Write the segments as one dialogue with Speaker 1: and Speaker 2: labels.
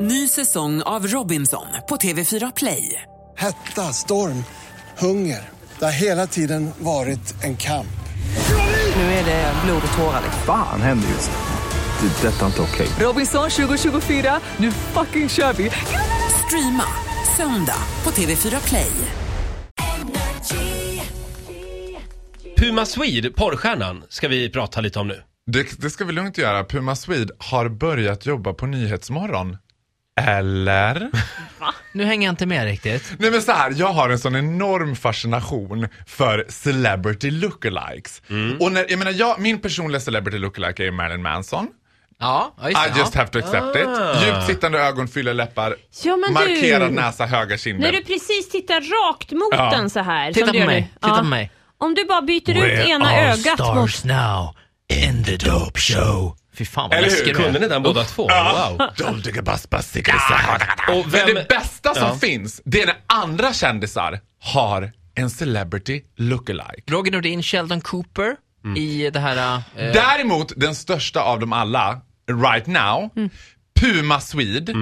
Speaker 1: Ny säsong av Robinson på TV4 Play.
Speaker 2: Hetta, storm, hunger. Det har hela tiden varit en kamp.
Speaker 1: Nu är det blod och tårar.
Speaker 3: Fan händer just nu. Det. är Detta är inte okej.
Speaker 1: Robinson 2024, nu fucking kör vi! Streama söndag på TV4 Play.
Speaker 4: Puma Swede, porrstjärnan, ska vi prata lite om nu.
Speaker 5: Det, det ska vi lugnt göra. Puma Swede har börjat jobba på Nyhetsmorgon. Eller?
Speaker 6: Nu hänger jag inte med riktigt.
Speaker 5: Nej men så här, jag har en sån enorm fascination för celebrity lookalikes.
Speaker 4: Mm.
Speaker 5: Och när, jag menar, jag, min personliga celebrity lookalike är ju Marilyn Manson.
Speaker 6: Ja, ja, just det.
Speaker 5: I just have to accept
Speaker 4: Ah.
Speaker 5: it. Djupt sittande ögon, fylla läppar,
Speaker 7: Ja, men du.
Speaker 5: markerad näsa, höga
Speaker 7: När
Speaker 5: kinder.
Speaker 7: du precis tittar rakt mot
Speaker 5: Ja.
Speaker 7: den så här.
Speaker 6: Titta
Speaker 7: som du
Speaker 6: på
Speaker 7: gör
Speaker 6: mig,
Speaker 7: nu.
Speaker 6: titta på mig.
Speaker 7: Om du bara byter ut
Speaker 6: We're
Speaker 7: ena
Speaker 6: all
Speaker 7: ögat mot...
Speaker 6: stars now in the dope show. Fy fan vad
Speaker 5: Eller hur?
Speaker 6: läskig du
Speaker 5: Kunde
Speaker 4: Kunde
Speaker 6: är.
Speaker 4: ni den båda två? Wow.
Speaker 5: Don't digga bus, bus, digga så.
Speaker 4: Och
Speaker 5: Men
Speaker 4: vem-
Speaker 5: det bästa som
Speaker 4: Ja.
Speaker 5: finns, det är när andra kändisar har en celebrity lookalike.
Speaker 6: Roger Nordin, Sheldon Cooper
Speaker 5: Mm.
Speaker 6: i det här... Eh,
Speaker 5: Däremot den största av dem alla, right now,
Speaker 7: Mm.
Speaker 5: Puma Swede,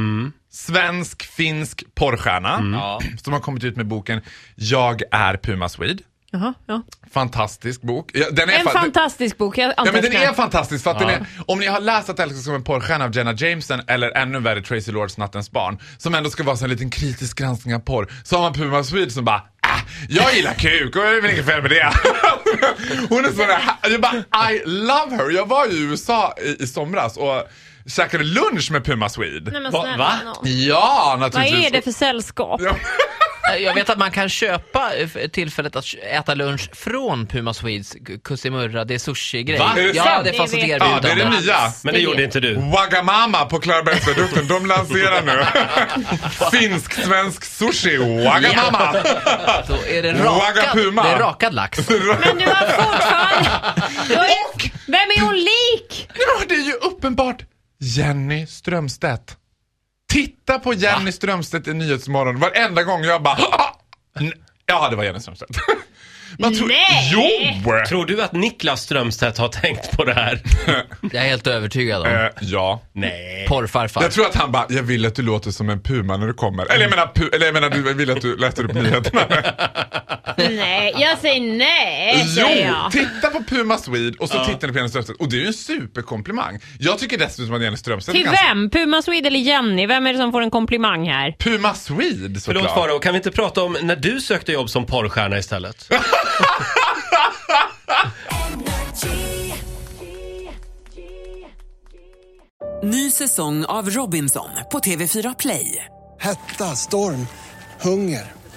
Speaker 5: svensk-finsk porrstjärna,
Speaker 7: Mm.
Speaker 5: som har kommit ut med boken Jag är Puma Swede.
Speaker 7: Jaha, ja.
Speaker 5: Fantastisk bok. Ja, den är
Speaker 7: En
Speaker 5: fa- den-
Speaker 7: fantastisk bok. Jag
Speaker 5: Ja, men den
Speaker 7: antecknar.
Speaker 5: är fantastisk för att den är, om ni har läst att älska som en porrstjärna av Jenna Jameson eller ännu värre Tracy Lords Nattens barn, som ändå ska vara så en liten kritisk granskning av porr, så har man Puma Swede som bara "Ah, jag gillar kuk och det är väl inget fel med det. Hon är sån där, jag bara I love her. Jag var i USA i, i somras och käkade lunch med Puma Swede.
Speaker 7: Nej, men
Speaker 4: Va-
Speaker 7: snälla,
Speaker 4: va?
Speaker 7: nå.
Speaker 5: Ja,
Speaker 7: Vad
Speaker 5: naturligtvis.
Speaker 7: är det för sällskap?
Speaker 5: Ja.
Speaker 6: eh, jag vet att man kan köpa eh, f- tillfället att k- äta lunch från Puma Swedes k- Kusimurra, det är sushi-grej.
Speaker 5: Va? Är det
Speaker 6: Ja,
Speaker 5: sant?
Speaker 6: det fanns ett
Speaker 7: Det vet
Speaker 5: Ja, det
Speaker 6: erbjudande.
Speaker 5: är det nya.
Speaker 4: Men det gjorde inte du.
Speaker 5: Wagamama på Klarabergsviadukten, de lanserar nu. Finsk-svensk sushi, Wagamama.
Speaker 6: Så är det rakad,
Speaker 5: Wagapuma.
Speaker 6: det är rakad lax.
Speaker 7: Men du har fortfarande... Du har ju... Vem är hon lik?
Speaker 5: Ja, det är ju uppenbart Jenny Strömstedt. Titta på Jenny Strömstedt i Nyhetsmorgon varenda gång jag bara "Ah!" N- Ja, det var Jenny Strömstedt. Man tror,
Speaker 7: Nej.
Speaker 5: Jo! Eh,
Speaker 4: Tror du att Niklas Strömstedt har tänkt på det här?
Speaker 6: Jag är helt övertygad om.
Speaker 5: Eh, ja.
Speaker 4: Nej.
Speaker 6: Porrfarfar.
Speaker 5: Jag tror att han bara, jag vill att du låter som en puma när du kommer. Eller jag menar, pu- eller jag menar du jag vill att du läser upp nyheterna.
Speaker 7: Nej, jag säger nej, säger
Speaker 5: Jo,
Speaker 7: jag.
Speaker 5: titta på Puma Swede och så tittar ni på Jenny Strömstedt. Och det är ju en superkomplimang. Jag tycker dessutom att Jenny Strömstedt är
Speaker 7: Till
Speaker 5: ganska-
Speaker 7: vem? Puma Swede eller Jenny? Vem är det som får en komplimang här?
Speaker 5: Puma Swede
Speaker 4: Förlåt
Speaker 5: såklart.
Speaker 4: Farao, kan vi inte prata om när du sökte jobb som porrstjärna istället?
Speaker 1: Ny säsong av Robinson på TV4 Play.
Speaker 2: Hetta, storm, hunger.